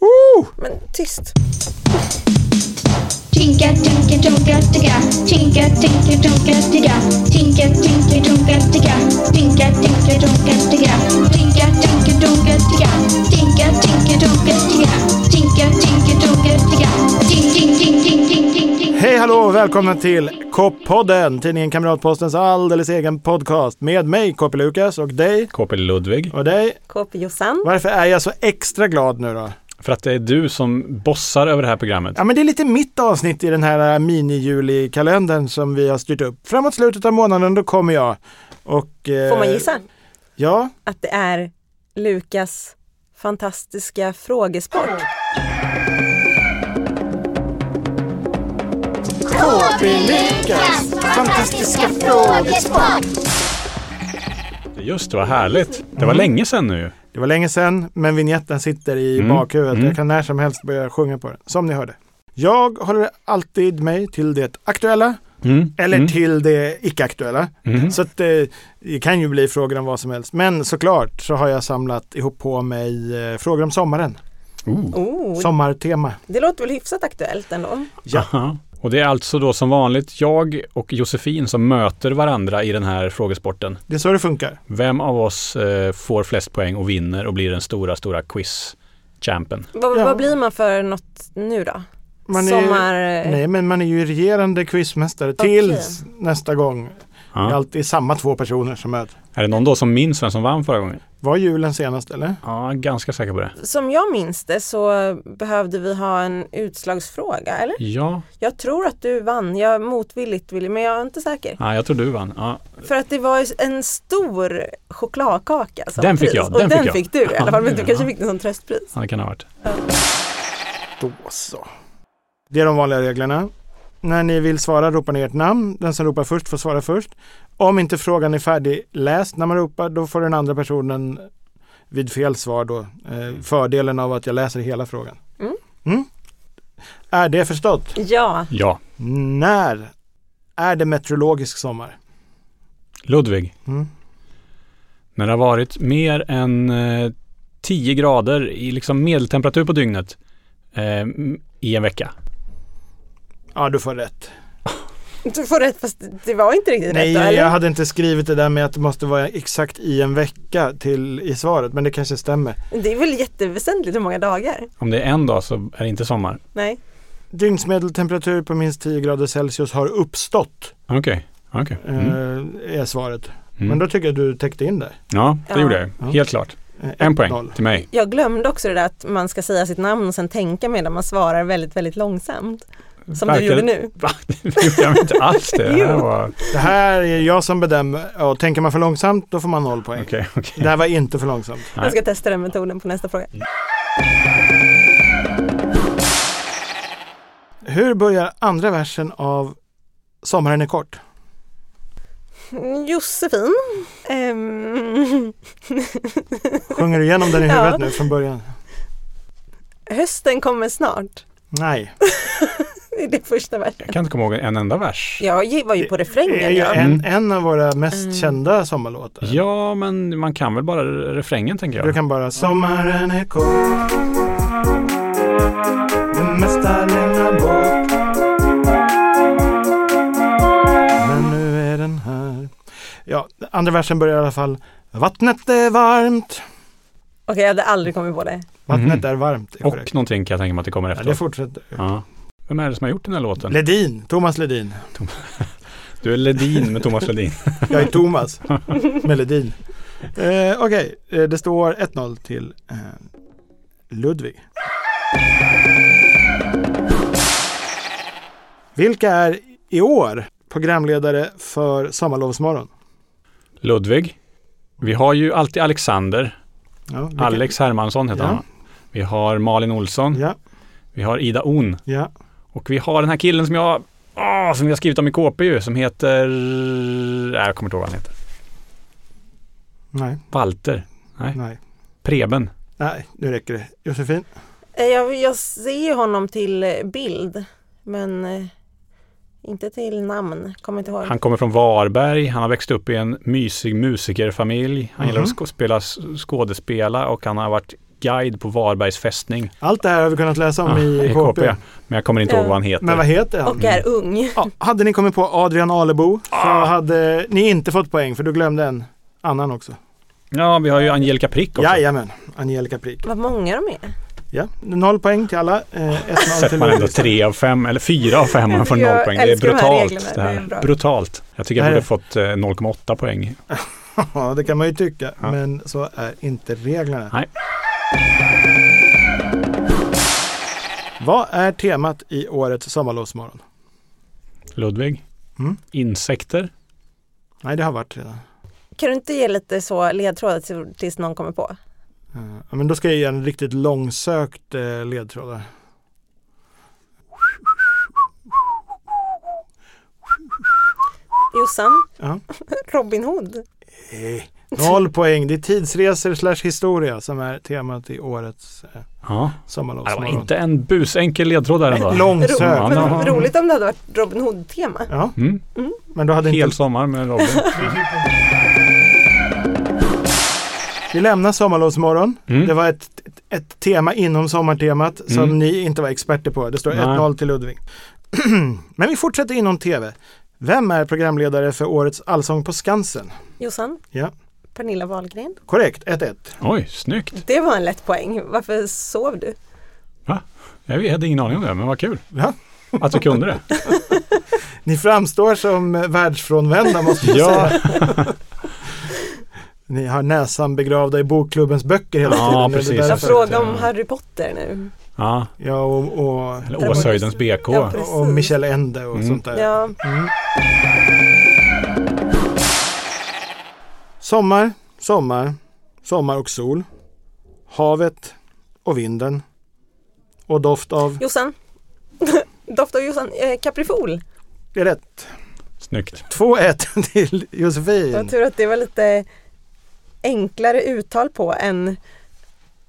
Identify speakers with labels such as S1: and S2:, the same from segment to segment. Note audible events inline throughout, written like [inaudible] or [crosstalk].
S1: Woo!
S2: Men tyst.
S3: Tinka, tinka, tonka, ticka. Tinka, tinka, tonka, ticka. Tinka, tinka, tonka, ticka. Tinka, tinka, tonka, ticka. Tinka, tinka, tonka, ticka. Tinka, tinka, tonka, ticka. Tinka, tinka, tonka, ticka. Tink, tink, tink, tink, tink, tink, tink.
S1: Hej hallå och välkommen till Koppodden, tidningen Kamratpostens alldeles egen podcast med mig KP Lukas och dig
S4: KP Ludvig.
S1: och dig.
S2: KP Jossan.
S1: Varför är jag så extra glad nu då?
S4: För att det är du som bossar över det här programmet.
S1: Ja men det är lite mitt avsnitt i den här äh, mini-juli-kalendern som vi har styrt upp. Framåt slutet av månaden då kommer jag. Och, eh,
S2: Får man gissa
S1: Ja,
S2: att det är Lukas fantastiska frågesport?
S5: fantastiska frågesport.
S4: Just det, vad härligt. Det var länge sedan nu.
S1: det var länge sedan men vignetten sitter i
S4: Mm,
S1: bakhuvudet.
S4: mm.
S1: Jag kan när som helst börja sjunga på den, som ni hörde. Jag håller alltid mig till det aktuella
S4: Mm.
S1: eller
S4: mm.
S1: till det icke-aktuella.
S4: Mm.
S1: Så att, eh, det kan ju bli frågor om vad som helst. Men såklart så har jag samlat ihop på mig eh, frågor om sommaren.
S4: Oh.
S2: Oh,
S1: Sommartema.
S2: det låter väl hyfsat aktuellt ändå?
S4: Jaha. Och det är alltså då som vanligt jag och Josefin som möter varandra i den här frågesporten.
S1: Det är så det funkar.
S4: Vem av oss eh, får flest poäng och vinner och blir den stora, stora quiz-champen?
S2: Vad,
S1: Ja.
S2: vad blir man för något nu då?
S1: Man är,
S2: Sommar...
S1: Nej, men man är ju regerande quizmästare
S2: Okej.
S1: tills nästa gång. Det är
S4: Ja.
S1: alltid samma två personer som möter.
S4: Är det någon då som minns vem som vann förra gången?
S1: Var julen senast eller?
S4: Ja, ganska säker på det.
S2: Som jag minns det så behövde vi ha en utslagsfråga, eller?
S4: Ja,
S2: Jag tror att du vann, jag motvilligt ville, men jag är inte säker.
S4: ja jag tror du vann. Ja.
S2: För att det var en stor chokladkaka som
S4: Den fick
S2: pris.
S4: jag,
S2: Och
S4: den
S2: den,
S4: fick jag.
S2: fick du i alla fall, men du
S4: Ja.
S2: kanske fick den som tröstpris.
S4: ja, det kan det ha varit.
S1: Då så. Det är de vanliga reglerna. När ni vill svara ropar ni ert namn. Den som ropar först får svara först. Om inte frågan är färdigläst när man ropar då får den andra personen vid fel svar då eh, fördelen av att jag läser hela frågan.
S2: Mm.
S1: Mm. Är det förstått?
S2: Ja,
S4: Ja,
S1: När är det meteorologisk sommar?
S4: Ludvig.
S1: Mm.
S4: När det har varit mer än eh, 10 grader i liksom medeltemperatur på dygnet eh, m- i en vecka.
S1: Ja, du får rätt.
S2: [laughs] du får rätt fast det var inte riktigt
S1: Nej,
S2: rätt då, eller?
S1: jag hade inte skrivit det där med att det måste vara exakt i en vecka till i svaret, men det kanske stämmer.
S2: Det är väl jätteväsentligt hur många dagar?
S4: Om det är en dag så är det inte sommar.
S2: Nej.
S1: Dygnsmedeltemperatur på minst 10 grader Celsius har uppstått,
S4: Okej, okej.
S1: eh,
S4: Mm.
S1: är svaret.
S4: Mm.
S1: Men då tycker jag att du täckte in det.
S4: ja, det
S2: Ja.
S4: gjorde jag.
S1: Ja.
S4: Helt klart.
S1: Eh,
S4: En
S1: 1-0.
S4: poäng till mig. [laughs]
S2: Jag glömde också det där att man ska säga sitt namn och sen tänka medan man svarar väldigt, väldigt långsamt. Som
S4: Verkar-
S2: du gjorde nu.
S4: Va? Det gjorde jag inte alls det. det här
S2: Jo.
S4: var...
S1: Det här är jag som bedömer. Ja, tänker man för långsamt då får man noll poäng.
S4: Okej, okej.
S1: Det här var inte för långsamt.
S4: Nej.
S2: Jag ska testa den metoden på nästa fråga.
S1: Hur börjar andra versen av Sommaren är kort?
S2: Josefin. Ehm, [laughs]
S1: Sjunger du igenom den i
S2: Ja.
S1: huvudet nu från början?
S2: hösten kommer snart.
S1: Nej.
S2: Det är det första versen.
S4: Jag kan inte komma ihåg en enda vers.
S2: Jag ge- var ju på
S1: Det är
S2: refrängen.
S1: ju
S2: Ja.
S1: en, en av våra mest
S2: Mm.
S1: kända sommarlåtar.
S4: Ja, men man kan väl bara refrängen tänker
S1: Du
S4: jag.
S1: kan bara Sommaren är kort Det mesta lämnar bort Men nu är den här Ja, andra versen börjar i alla fall Vattnet är varmt
S2: Okej, jag hade aldrig kommit på det.
S1: Vattnet
S4: Mhm.
S1: är varmt är korrekt.
S4: Och någonting kan jag tänka mig att det kommer
S1: Ja, det
S4: efter.
S1: fortsätter.
S4: Ja. Vem är det som har gjort den här låten?
S1: Ledin, Thomas Ledin.
S4: Du är Ledin med Thomas Ledin.
S1: Jag är Thomas med Ledin. Eh, Okej, eh, det står 1-0 till eh, Ludvig. Vilka är i år programledare för Sommarlovsmorgon?
S4: Ludvig. Vi har ju alltid Alexander.
S1: Ja, vilka-
S4: Alex Hermansson heter
S1: Ja.
S4: han. Vi har Malin Olsson.
S1: Ja,
S4: Vi har Ida Ohn.
S1: ja.
S4: Och vi har den här killen som jag ah, som vi har skrivit om i KP ju, som heter... Nej, jag kommer inte ihåg vad han heter.
S1: Nej,
S4: Walter. Nej,
S1: nej.
S4: Preben.
S1: Nej, nu räcker det. Josefin?
S2: Eh, Jag, jag ser ju honom till eh, bild, men eh, inte till namn. Kommer inte ihåg.
S4: Han kommer från Varberg. Han har växt upp i en mysig musikerfamilj. Han gillar att
S1: Mhm.
S4: sko- spela s- skådespela och han har varit guide på Varbergs fästning
S1: Allt det här har vi kunnat läsa om
S4: Ah,
S1: i KP.
S4: Men jag kommer inte
S2: Ja.
S4: ihåg vad han heter.
S1: Men vad heter han?
S2: Och är ung.
S1: Ja, hade ni kommit på Adrian Alebo så hade ni inte fått poäng för du glömde en annan också.
S4: Ja, vi har ju Angelica Prick också.
S1: Jajamän, Angelica Prick.
S2: Vad många de är.
S1: Ja, noll poäng till alla. Eh, ett noll
S4: Sätter
S1: till
S4: man ändå
S1: Ulrika.
S4: tre av fem eller fyra av fem man får
S2: Jag
S4: noll poäng. Det är
S2: älskar de här
S4: brutalt.
S2: reglerna,
S4: det här.
S2: det är bra.
S4: brutalt. Jag tycker jag
S1: Nej.
S4: borde fått eh, 0,8 poäng.
S1: Ja, det kan man ju tycka,
S4: Ja.
S1: men så är inte reglerna.
S4: Nej.
S1: Vad är temat i årets sommarlovsmorgon?
S4: Ludvig?
S1: Mm.
S4: Insekter?
S1: Nej, det har varit redan.
S2: Kan du inte ge lite så ledtrådar till- tills någon kommer på?
S1: Eh, Ja, men då ska jag ge en riktigt långsökt eh, ledtråd. där.
S2: Jossan? [laughs]
S1: Ja. Mm,
S2: Robin Hood?
S4: Eh.
S1: Nej, Noll poäng. Det är tidsresor slash historia som är temat i årets eh,
S4: Ja. Det var
S1: sommarlovsmorgon.
S4: Alltså, inte en busenkel ledtråd där ändå.
S2: Ro-
S4: Ja,
S1: Långsökt.
S4: men-
S2: men roligt om det hade varit Robin Hood-tema.
S1: Ja,
S4: Mm.
S1: men då hade inte
S4: Hel sommar med Robin.
S1: Vi lämnar sommarlovsmorgon. [laughs]
S4: Mm.
S1: Det var ett, ett, ett tema inom sommartemat
S4: Mm.
S1: som ni inte var experter på. Det står
S4: Nej.
S1: 1-0 till Ludvig. [clears throat] Men vi fortsätter inom tv. Vem är programledare för årets Allsång på Skansen?
S2: Jossan?
S1: Ja.
S2: Pernilla Wahlgren?
S1: Korrekt, 1-1.
S4: Oj, snyggt.
S2: Det var en lätt poäng. Varför sov du?
S4: Jag hade ingen aning om det, men vad kul
S1: Ja.
S4: att du kunde det.
S1: Ni framstår som eh, världsfrånvända måste jag
S4: Ja.
S1: säga. [laughs] Ni har näsan begravda i bokklubbens böcker hela
S4: Ja,
S1: tiden. Det är
S4: precis.
S1: därför.
S2: Jag
S4: så-
S2: frågar om Harry Potter nu.
S4: Ja,
S1: Ja, och, och,
S2: [laughs]
S4: eller Åshöjdens BK.
S2: Ja, precis.
S1: och Michel Ende och
S4: Mm.
S1: sånt där.
S2: Ja,
S1: Sommar, sommar, sommar och sol. Havet och vinden. Och doft av...
S2: Jossan. [laughs] Doft av Jossan. Eh, Caprifol.
S1: Det är rätt.
S4: Snyggt.
S1: 2-1 [laughs] till
S2: Det var
S1: Josefin.
S2: tur att det var lite enklare uttal på än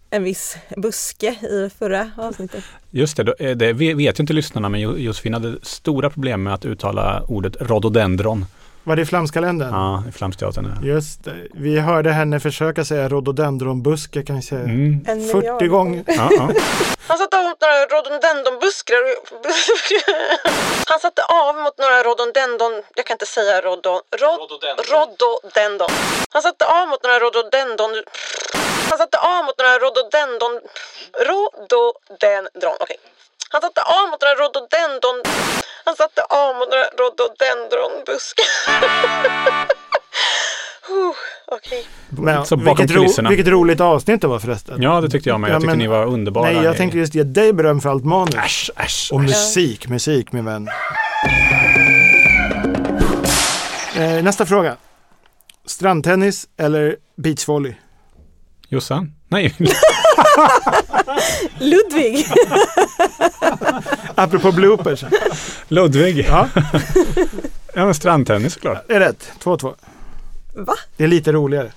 S2: en viss buske i förra avsnittet.
S4: Just det, då, eh, det ve- vet ju inte lyssnarna, men Jo- Josefin hade stora problem med att uttala ordet rhododendron.
S1: Var det i Flamskalendern?
S4: Ja, i Flamsteatern. ja.
S1: Just det. Vi hörde henne försöka säga rhododendronbuske kanske
S4: Mm.
S2: En
S1: 40
S2: miljard. [laughs]
S1: gånger.
S4: Ja, ja.
S2: Han satte av några rhododendronbuskar. [laughs] Han satte av mot några rhododendron... Jag kan inte säga rhodon... Rhododendron. Han satte av mot några rhododendron... Han satte av mot några rhododendron... Rhododendron. Okej. Han satte av mot några rhododendron... Han satte av mot några rhododendronbuskar. Huh, Okej.
S1: Men,
S4: Så bakom
S1: vilket, ro,
S4: kulisserna.
S1: vilket roligt avsnitt det var förresten.
S4: ja, det tyckte jag med. Jag
S1: Ja,
S4: tyckte
S1: men-
S4: ni var underbara.
S1: Nej, jag
S4: Ni-
S1: tänkte just ge dig beröm för allt
S4: [laughs]
S1: manus.
S4: Äsch, äsch,
S1: Och
S4: äsch.
S1: musik, musik min vän. Eh, nästa fråga. Strandtennis eller beachvolley?
S4: Jossan? Nej, [laughs]
S2: [laughs] Ludvig!
S1: Apropå bloopers.
S4: Ludvig.
S1: Ja.
S4: Ja, men strandtennis såklart.
S1: Det är rätt, 2-2.
S2: Va?
S1: Det är lite roligare.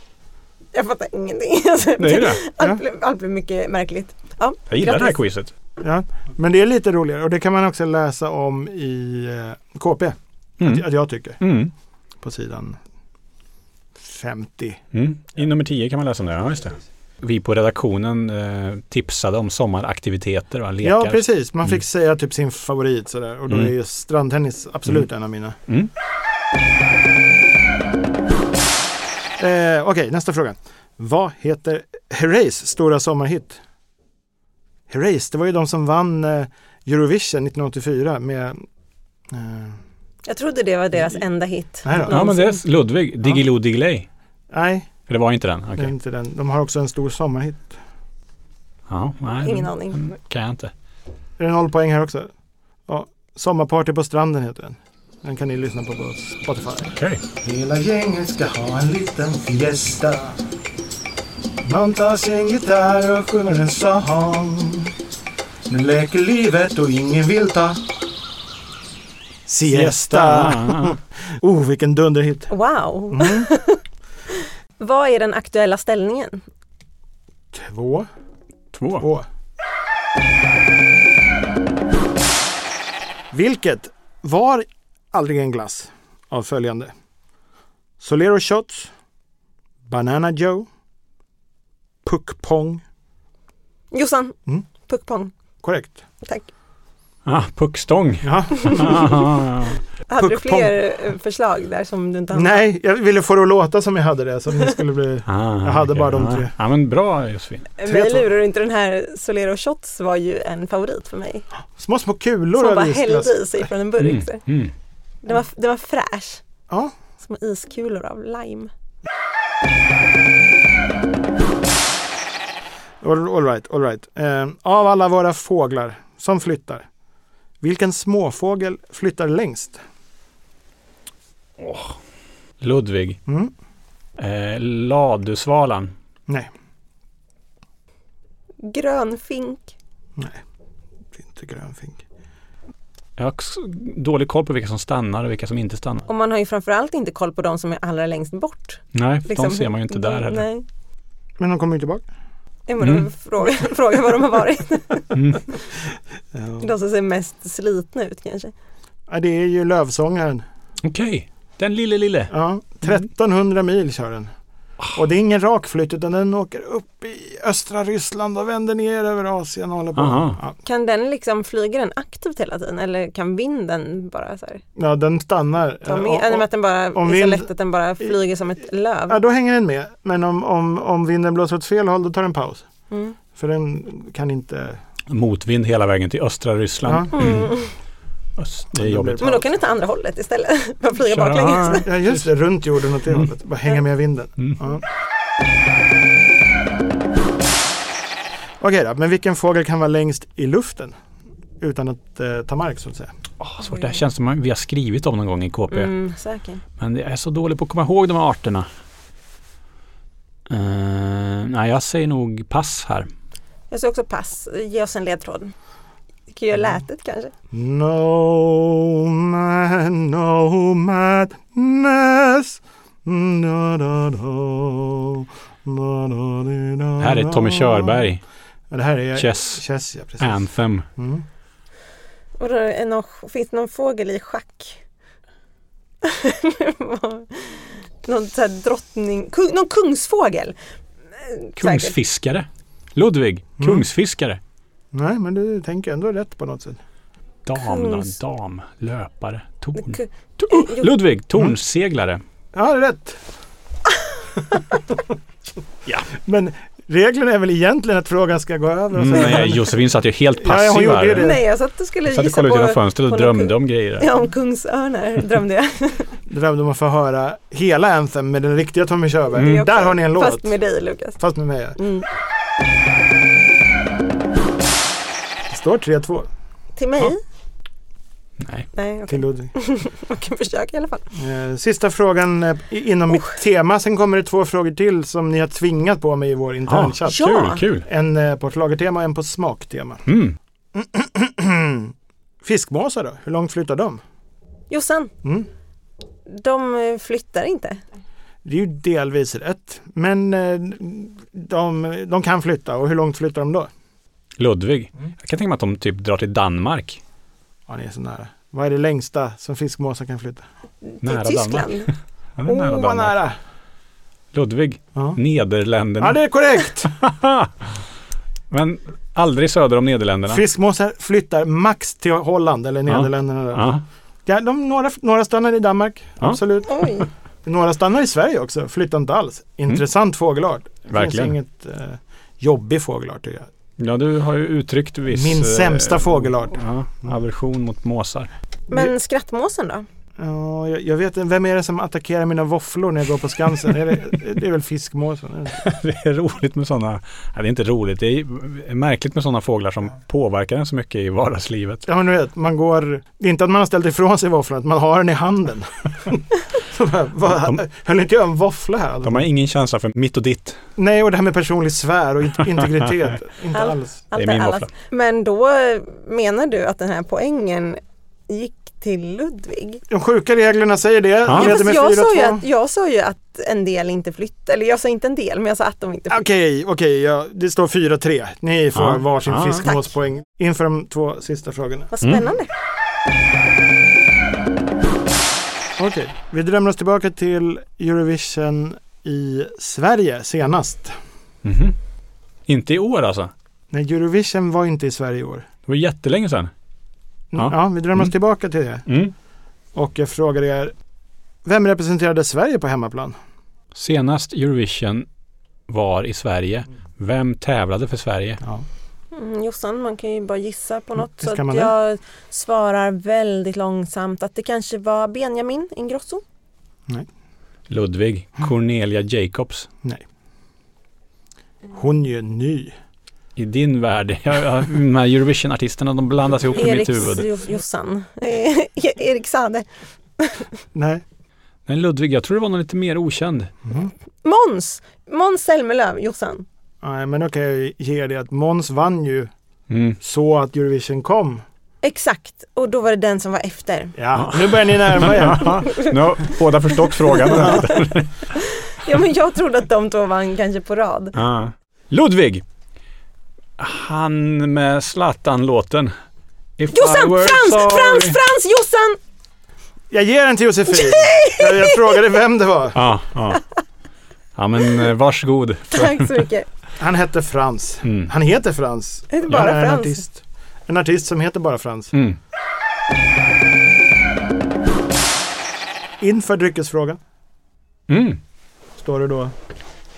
S2: Jag fattar ingenting. [laughs] Alltså,
S4: Det är ju det.
S1: Ja.
S2: Allt, blev, allt blev mycket märkligt. Ja,
S4: Jag gillar det här
S2: grattis.
S4: quizet.
S1: Ja. Men det är lite roligare och det kan man också läsa om i eh, KP.
S4: Mm.
S1: Att jag tycker.
S4: Mm.
S1: På sidan 50.
S4: Mm. I nummer 10 kan man läsa om det. Ja, just det. Vi på redaktionen eh, tipsade om sommaraktiviteter, va? lekar.
S1: Ja, precis. Man fick
S4: Mm.
S1: säga typ sin favorit sådär. Och då
S4: Mm.
S1: är ju strandtennis absolut en av mina.
S4: Mm.
S1: Eh, Okej, nästa fråga. Vad heter Herreys stora sommarhit? Herreys, det var ju de som vann eh, Eurovision 1984 med... Eh,
S2: Jag trodde det var deras enda hit.
S1: Nej då.
S4: Ja, men det är Ludvig. Diggiloo Diggiley.
S1: nej,
S4: För Det var inte den? Okej.
S1: det är inte den. De har också en stor sommarhit.
S4: Ja, nej,
S2: Ingen
S4: den-
S2: aning.
S4: den kan jag inte.
S1: Är det noll poäng här också? Ja, Sommarparty på stranden heter den. Den kan ni lyssna på på Spotify.
S4: Okej.
S6: Hela gänget ska ha en liten fiesta Man tar sin gitarr och sjunger en sång Nu leker livet och ingen vill ta
S1: Siesta! Oh, vilken dunderhit.
S2: Wow! [laughs] Vad är den aktuella ställningen?
S1: Två.
S4: Två.
S1: Två. Vilket var aldrig en glass av följande. Solero Shots, Banana Joe, Puck Pong
S2: Jossan,
S1: Mm.
S2: puckpong.
S1: Korrekt.
S2: Tack.
S4: Ah, puckstång.
S1: Ja.
S2: Hade du
S1: Puckpong.
S2: fler eh, förslag där som du [laughs] inte hann?
S1: Nej, jag ville få det att låta som jag hade det. Så det
S2: [laughs]
S1: skulle bli...
S4: Ah,
S1: Jag hade bara de
S4: ja.
S1: tre.
S4: Ja, men bra Josefin.
S2: Mig
S1: två.
S2: Eh, lurar du inte, den här Solero Shots var ju en favorit för mig.
S1: Små, små kulor
S2: Som man
S1: av
S2: bara hällde
S1: isglass.
S2: i sig från en burk.
S4: Mm,
S2: så.
S4: mm.
S2: Den, var, den var fräsch.
S1: Ja,
S2: Små iskulor av lime.
S1: all, all right, all right. Eh, av alla våra fåglar som flyttar, vilken småfågel flyttar längst?
S4: Ludvig.
S1: Mm.
S4: Eh, ladusvalan.
S1: Nej,
S2: Grönfink.
S1: det är inte grönfink.
S4: Jag har också dålig koll på vilka som stannar och vilka som inte stannar.
S2: Och man har ju framförallt inte koll på de som är allra längst bort.
S4: Nej,
S2: Liksom,
S4: de ser man ju inte
S2: de-
S4: där heller.
S2: Nej.
S1: Men de kommer ju tillbaka.
S2: Ja, men
S4: Mm.
S2: de fråga, [laughs] fråga var de har varit. De som ser mest slitna ut kanske.
S1: Ja, det är ju lövsångaren.
S4: Okej, den lille lille.
S1: Ja,
S2: Mm.
S1: 1300 mil kör den. Och det är ingen rak flytt utan den åker upp i östra Ryssland och vänder ner över Asien och håller på.
S4: Aha.
S1: Ja.
S2: Kan den liksom, flyger den aktivt hela tiden eller kan vinden bara så här?
S1: ja, den stannar.
S2: Ta med,
S1: Ja, och-
S2: eller med att den bara,
S1: Eh, om
S2: det är så
S1: vind-
S2: lätt att den bara flyger som ett löv.
S1: Ja, då hänger den med. Men om, om, om vinden blåser åt fel håll, då tar den paus.
S2: Mm.
S1: För den kan inte...
S4: Motvind hela vägen till östra
S1: Ja,
S4: Ryssland. Mm.
S2: Mm.
S4: Öst, det är
S1: Ja,
S4: jobbigt.
S1: det
S2: Men då kan du ta andra hållet istället. [laughs] Bara flyga
S4: Köra.
S2: baklänges.
S1: ja just det. Mm. Runt jorden åt det hållet. Bara hänga med vinden. Ja. Okej då, men vilken fågel kan vara längst i luften? Utan att eh, ta mark så att säga.
S4: Åh, Ah, svårt. Det här känns som att vi har skrivit om någon gång i
S2: [laughs]
S4: KP.
S2: Mm, säkert.
S4: Men jag är så dålig på att komma ihåg de här arterna. Eh, nej, jag säger nog pass här.
S2: Jag sa också pass. Ge oss en ledtråd. Du kan ju göra lätet kanske.
S1: No man, no madness. Da, da, da, da, da, di, da,
S4: Det här är Tommy
S1: da.
S4: Körberg,
S1: Ja, Det här är
S4: Chess.
S1: Chess, ja precis.
S4: Anthem.
S1: Mm.
S2: Och då är det någon, finns det någon fågel i schack? [laughs] någon så här drottning... Kung, någon kungsfågel? Eh, säkert.
S4: Kungsfiskare. Ludvig, kungsfiskare.
S1: Nej, men du tänker ändå rätt på något sätt.
S4: Dam, då,
S2: Kungs-
S4: dam, löpare, torn.
S2: Ku-
S4: To- oh,
S2: jo.
S4: Ludvig, tornseglare.
S1: Ja, rätt.
S4: [laughs] Ja.
S1: Men regeln är väl egentligen att frågan ska gå över. Och
S4: Mm,
S1: sen-
S4: nej, Josefin satt ju helt
S1: Ja, hon
S4: passiv
S1: gjorde ju
S4: här.
S1: det.
S2: Nej, jag satt och skulle
S4: Jag satt och
S2: gissa
S4: kollade
S2: på...
S4: ut genom fönstret
S2: på
S4: och
S2: någon
S4: drömde om grejer.
S2: kung- Ja, om kungsörnar drömde jag.
S1: Drömde om att få höra hela Anthem med den riktiga Tommy Körberg.
S4: Mm.
S2: Det är också-
S1: Där har ni en låt.
S2: Fast med dig Lukas.
S1: Fast med mig.
S2: Mm.
S1: Det står 3-2
S2: Till mig?
S4: Ja. Nej.
S2: Nej, okej.
S1: till Ludvig.
S2: Man kan försöka i alla fall.
S1: Eh, Sista frågan eh, i- inom
S2: Oh.
S1: mitt tema. Sen kommer det två frågor till som ni har tvingat på mig i vår
S4: Ah,
S1: internchatt.
S4: kul, kul.
S1: En eh, på schlagertema och en på smaktema.
S4: Mm.
S1: Fiskmåsar då? Hur långt flyttar de?
S2: Jossan,
S1: Mm.
S2: de eh, flyttar inte.
S1: Det är ju delvis rätt. Men eh, de, de kan flytta och hur långt flyttar de då?
S4: Ludvig. Jag kan tänka mig att de typ drar till Danmark.
S1: Ja, ni är så nära. Vad är det längsta som fiskmåsar kan flytta?
S4: Nära
S2: till
S4: Danmark.
S2: Tyskland.
S4: Ja, det är
S1: Åh,
S4: nära
S1: vad
S4: Danmark.
S1: nära!
S4: Ludvig,
S1: Ja.
S4: Nederländerna.
S1: ja, det är
S4: [laughs]
S1: korrekt!
S4: Men aldrig söder om Nederländerna.
S1: Fiskmåsar flyttar max till Holland eller
S4: Ja.
S1: Nederländerna. Där.
S4: Ja.
S1: Ja, de, några, några stannar i Danmark,
S4: Ja.
S1: absolut.
S4: [laughs]
S2: Oj,
S1: Några stannar i Sverige också, flyttar inte alls. Intressant fågelart. Det finns
S4: Mm. Verkligen.
S1: inget eh, jobbig fågelart tycker jag.
S4: ja, du har ju uttryckt viss...
S1: Min
S4: eh,
S1: sämsta fågelart.
S4: Ja, aversion mot måsar.
S2: men skrattmåsen då?
S1: Ja, jag, jag vet vem är det som attackerar mina våfflor när jag går på Skansen? är det, det är väl fiskmåsen? är det inte?
S4: Det är roligt med sådana... Nej, det är inte roligt. Det är är märkligt med sådana fåglar som påverkar en så mycket i vardagslivet.
S1: Ja, men du vet, man går... Det är inte att man har ställt ifrån sig våfflan, att man har den i
S4: [laughs]
S1: handen. Så bara, vad, höll inte jag en våffla här?
S4: De har ingen känsla för mitt och ditt.
S1: Nej, och det här med personlig sfär
S4: [laughs]
S1: och in- integritet. inte
S2: Allt-
S1: alls.
S4: Det är
S2: Allt
S4: min
S2: allas.
S4: våffla.
S2: Men då eh, menar du att den här poängen gick till Ludvig?
S1: De sjuka reglerna säger det.
S4: Ja,
S2: Ja,
S1: Leder
S2: fast
S1: med
S2: jag, sa ju
S1: 4-2.
S2: att, jag sa ju att en del inte flyttar, eller jag sa inte en del, men jag sa att de inte flyttar.
S1: Okej, okej, ja, det står 4-3. Ni får
S4: Ja.
S1: varsin
S4: Ja.
S1: fiskmåspoäng inför de två sista frågorna.
S2: Vad spännande.
S1: Okej, vi drömmer oss tillbaka till Eurovision i Sverige senast.
S4: Mhm. Inte i år alltså.
S1: Nej, Eurovision var inte i Sverige i år.
S4: Det var jättelänge sedan.
S1: Mm,
S4: Ja.
S1: Ja, vi drömmer
S4: Mm.
S1: oss tillbaka till det.
S4: Mm.
S1: Och jag frågar er, vem representerade Sverige på hemmaplan?
S4: Senast Eurovision var i Sverige. Vem tävlade för Sverige?
S1: Ja.
S2: Mm, Jossan, man kan ju bara gissa på något.
S1: Mm, det
S2: Så
S1: ska man
S2: att jag svarar väldigt långsamt att det kanske var Benjamin Ingrosso.
S4: Ludvig Cornelia Jacobs.
S1: Hon är ju ny.
S4: I din värld, [laughs] jag, jag, de här Eurovision-artisterna de blandas ihop i mitt
S2: Eriks
S4: huvud.
S2: Jo- Jossan. [laughs] Eh, Erik Sade.
S1: Nej,
S4: Nej Ludvig, jag tror det var någon lite mer okänd.
S1: Mm.
S2: Måns! Måns Zelmerlöw, Jossan.
S1: Nej men då kan jag ge er det att Måns vann ju
S4: Mm.
S1: så att Eurovision kom.
S2: Exakt, och då var det den som var efter.
S1: Ja, nu börjar ni närma er. [laughs]
S4: Nu har båda förstått [laughs] frågan.
S2: Ja, men jag trodde att de två vann kanske på rad.
S4: ah. Ludvig! Han med Zlatan-låten. If I
S2: Jossan!
S4: were
S2: Frans!
S4: sorry.
S2: Frans! Frans! Jossan!
S4: [laughs]
S1: Jag ger den till Josefin. Jag, jag frågade vem det var.
S4: Ja, ja. Ja men eh, varsågod.
S2: Tack så mycket.
S1: Han hette Frans.
S4: Mm.
S1: Han heter Frans.
S2: Heter bara
S1: Han är En
S2: Frans.
S1: artist. en artist som heter bara Frans.
S4: Mm.
S1: Inför dryckesfrågan
S4: Mm.
S1: står det då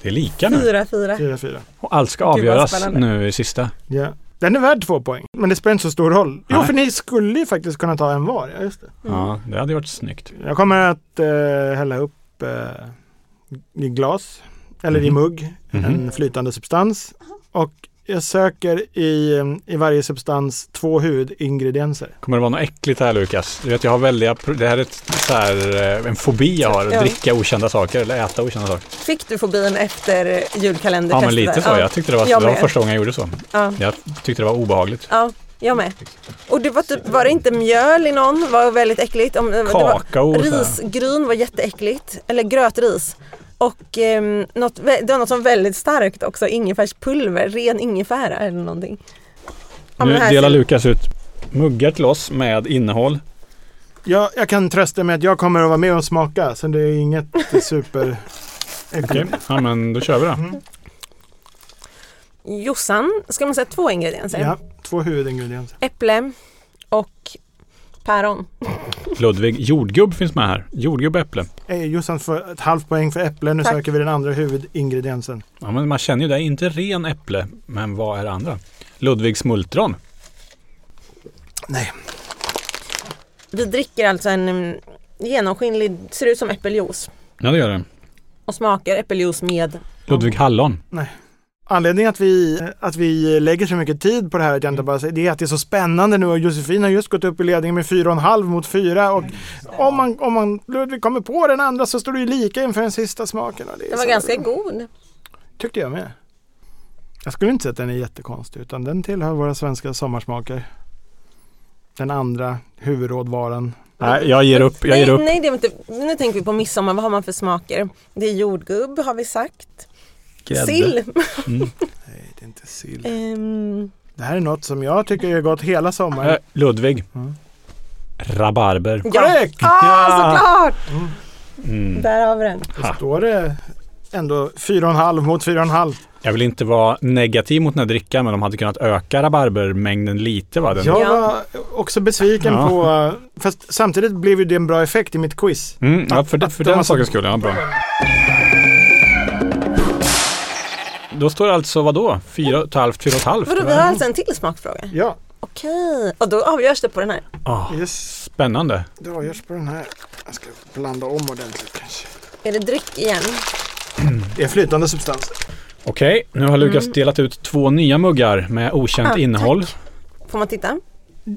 S4: Det är lika nu.
S2: 4-4.
S1: 4-4.
S4: Och allt ska
S2: Gud, vad
S4: avgöras
S2: spännande.
S4: nu i sista.
S1: Ja. Den är värd två poäng, men det spelar inte så stor roll. Jo,
S4: Nej.
S1: för ni skulle ju faktiskt kunna ta en var. Ja, just det.
S4: Ja,
S2: Mm.
S4: det hade varit snyggt.
S1: Jag kommer att eh, hälla upp eh, i glas eller i
S4: Mhm.
S1: mugg
S4: Mhm.
S1: en flytande substans och jag söker i, i varje substans två huvudingredienser.
S4: Kommer det vara något äckligt här Lukas? Du vet jag har väldiga, pro- det här är ett, så här, eh, en fobi jag har, att
S2: Ja.
S4: dricka okända saker eller äta okända saker.
S2: Fick du fobin efter julkalendertestet?
S4: Ja men lite så,
S2: Ja.
S4: jag tyckte det var,
S2: Jag
S4: det var
S2: med.
S4: första gången jag gjorde så.
S2: Ja.
S4: Jag tyckte det var obehagligt.
S2: Ja, jag med. Och det var, typ, var det inte mjöl i någon? var väldigt äckligt. Om, det var,
S4: Kakao och så här.
S2: risgryn var jätteäckligt. Eller grötris. Och ehm, något, vä- det var något som var väldigt starkt också. Ingefärspulver, ren ingefära eller någonting. Ja, men
S4: Nu
S2: här
S4: delar
S2: ser-
S4: Lukas ut muggar till oss med innehåll.
S1: Jag, jag kan trösta med att jag kommer att vara med och smaka så det är
S4: [laughs]
S1: inget super...
S4: Okej, ja men då kör vi då.
S2: Jossan, ska man säga två ingredienser?
S1: Ja, två huvudingredienser.
S2: Äpple och päron.
S4: Ludvig, jordgubb finns med här. Jordgubb och äpple.
S1: Eh, Jossan får ett halvt poäng för äpple. Nu
S2: Tack.
S1: söker vi den andra huvudingrediensen.
S4: Ja men man känner ju det, inte ren äpple, men vad är det andra? Ludvig smultron.
S1: Nej,
S2: Vi dricker alltså en mm, genomskinlig, ser ut som äppeljuice.
S4: Ja det gör det.
S2: Och smakar äppeljuice med
S4: Ludvig hallon.
S1: Anledningen att vi, att vi lägger så mycket tid på det här, att
S2: Mm.
S1: jag inte bara säger, det är att det är så spännande nu och Josefin har just gått upp i ledningen med 4,5 mot 4 och
S2: Mm.
S1: om man, om man Ludvig kommer på den andra så står det ju lika inför den sista smaken. Och det är
S2: Den var
S1: så-
S2: ganska god.
S1: Tyckte jag med. Jag skulle inte säga att den är jättekonstig utan den tillhör våra svenska sommarsmaker. Den andra huvudrådvaran.
S4: Nej, jag ger upp. Jag
S2: Nej,
S4: ger upp.
S2: nej det är inte, nu tänker vi på midsommar, vad har man för smaker? Det är jordgubb har vi sagt. Sill.
S1: Nej, det är inte sill.
S2: Ehm,
S1: Det här är något som jag tycker är gott hela sommaren.
S4: Eh, Ludvig. Rabarber. [laughs]
S1: Korrekt!
S2: Ja, ah, såklart!
S4: Mm.
S2: Där har vi den.
S1: Då står det ändå 4,5 mot 4,5.
S4: Jag vill inte vara negativ mot den här drickan men de hade kunnat öka rabarbermängden lite va? Den.
S1: Jag
S2: Ja.
S1: var också besviken
S4: Ja.
S1: på, fast samtidigt blev ju det en bra effekt i mitt quiz.
S4: Mm, ja, för, för den sakens skull, ja bra. Då står det alltså vadå? Fyra och ett halvt, fyra och ett halvt?
S2: Vadå, vi har alltså en till smakfråga?
S1: Ja,
S2: Okej, och då avgörs det på den här.
S4: Ah,
S1: yes.
S4: spännande.
S1: det avgörs på den här. Jag ska blanda om ordentligt kanske.
S2: Är det dryck igen?
S1: Det är flytande substanser.
S4: Okej, nu har Lukas delat ut två nya muggar med okänt
S2: Ah,
S4: innehåll.
S2: Får man titta?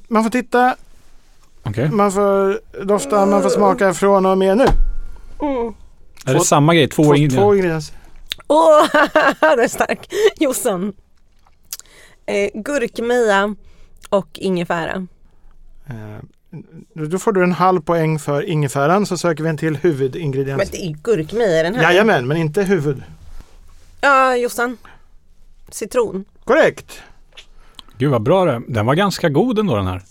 S1: Man får titta,
S4: Okej.
S1: man får dofta, man får smaka från och med nu.
S4: Är det samma grej? Två,
S1: Två,
S4: in-
S1: två ingredienser.
S2: Åh, [laughs] den är stark! Jossan. Eh, gurkmeja och ingefära.
S1: Eh, Då får du en halv poäng för ingefäran så söker vi en till
S2: Men
S1: huvudingrediens.
S2: det är ju gurkmeja i den här.
S1: Jajamän, men inte huvud.
S2: Ja, Jossan. Citron.
S1: Korrekt!
S4: Gud vad bra det Den var ganska god ändå den här.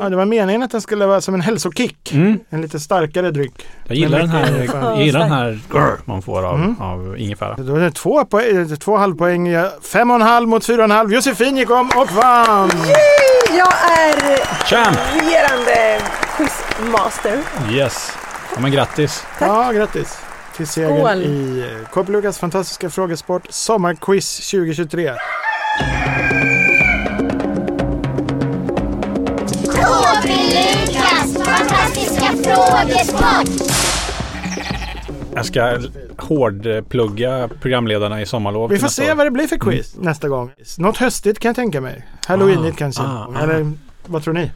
S1: Ja, det var meningen att den skulle vara som en hälsokick.
S4: Mm.
S1: En lite starkare dryck.
S4: Jag gillar den
S1: Men
S4: här,
S1: mycket-
S4: jag gillar den här grr man får av, av ingefära.
S1: Då är det två, poäng, eh, två halvpoäng. Ja, Fem och en halv mot fyra och en halv. Josefin gick om och vann!
S2: Jag är
S4: Champ!
S2: regerande quizmaster.
S4: Yes. Ja, men grattis.
S1: Ja, grattis till segern
S2: Skål.
S1: i eh, KP Lukas fantastiska frågesport Sommarquiz 2023.
S5: KB Lukas fantastiska frågesport.
S4: Jag ska hårdplugga programledarna i sommarlov.
S1: Vi
S4: till
S1: får
S4: nästa
S1: se
S4: år.
S1: vad det blir för quiz nästa gång. Något höstigt kan jag tänka mig. Halloweenigt
S4: Ah,
S1: kanske.
S4: ah, ah.
S1: Eller vad tror ni?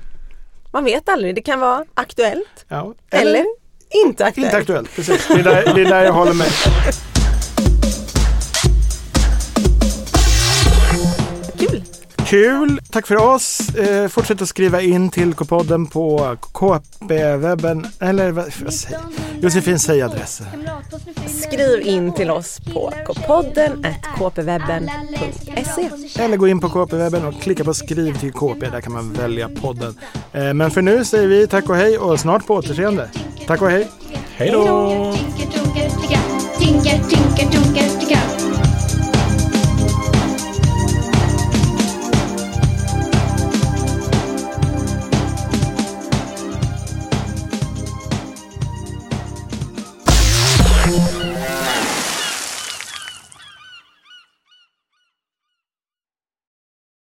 S2: Man vet aldrig, det kan vara aktuellt
S1: Ja.
S2: eller inte aktuellt.
S1: Inte aktuellt, precis. Det är där, det är där jag håller med.
S2: Kul!
S1: Kul! Tack för oss. Eh, fortsätt att skriva in till K-podden på KP-webben. Eller vad vad säger jag? Josefin, säg adressen.
S2: Skriv in till oss på kpodden kpwebben.se.
S1: Eller gå in på KP-webben och klicka på skriv till KP. Där kan man välja podden. Eh, men för nu säger vi tack och hej och snart på återseende. Tack och hej!
S4: Hej då!
S3: Tinker, tunker, tigga. Tinker, tinker, tunker, tigga.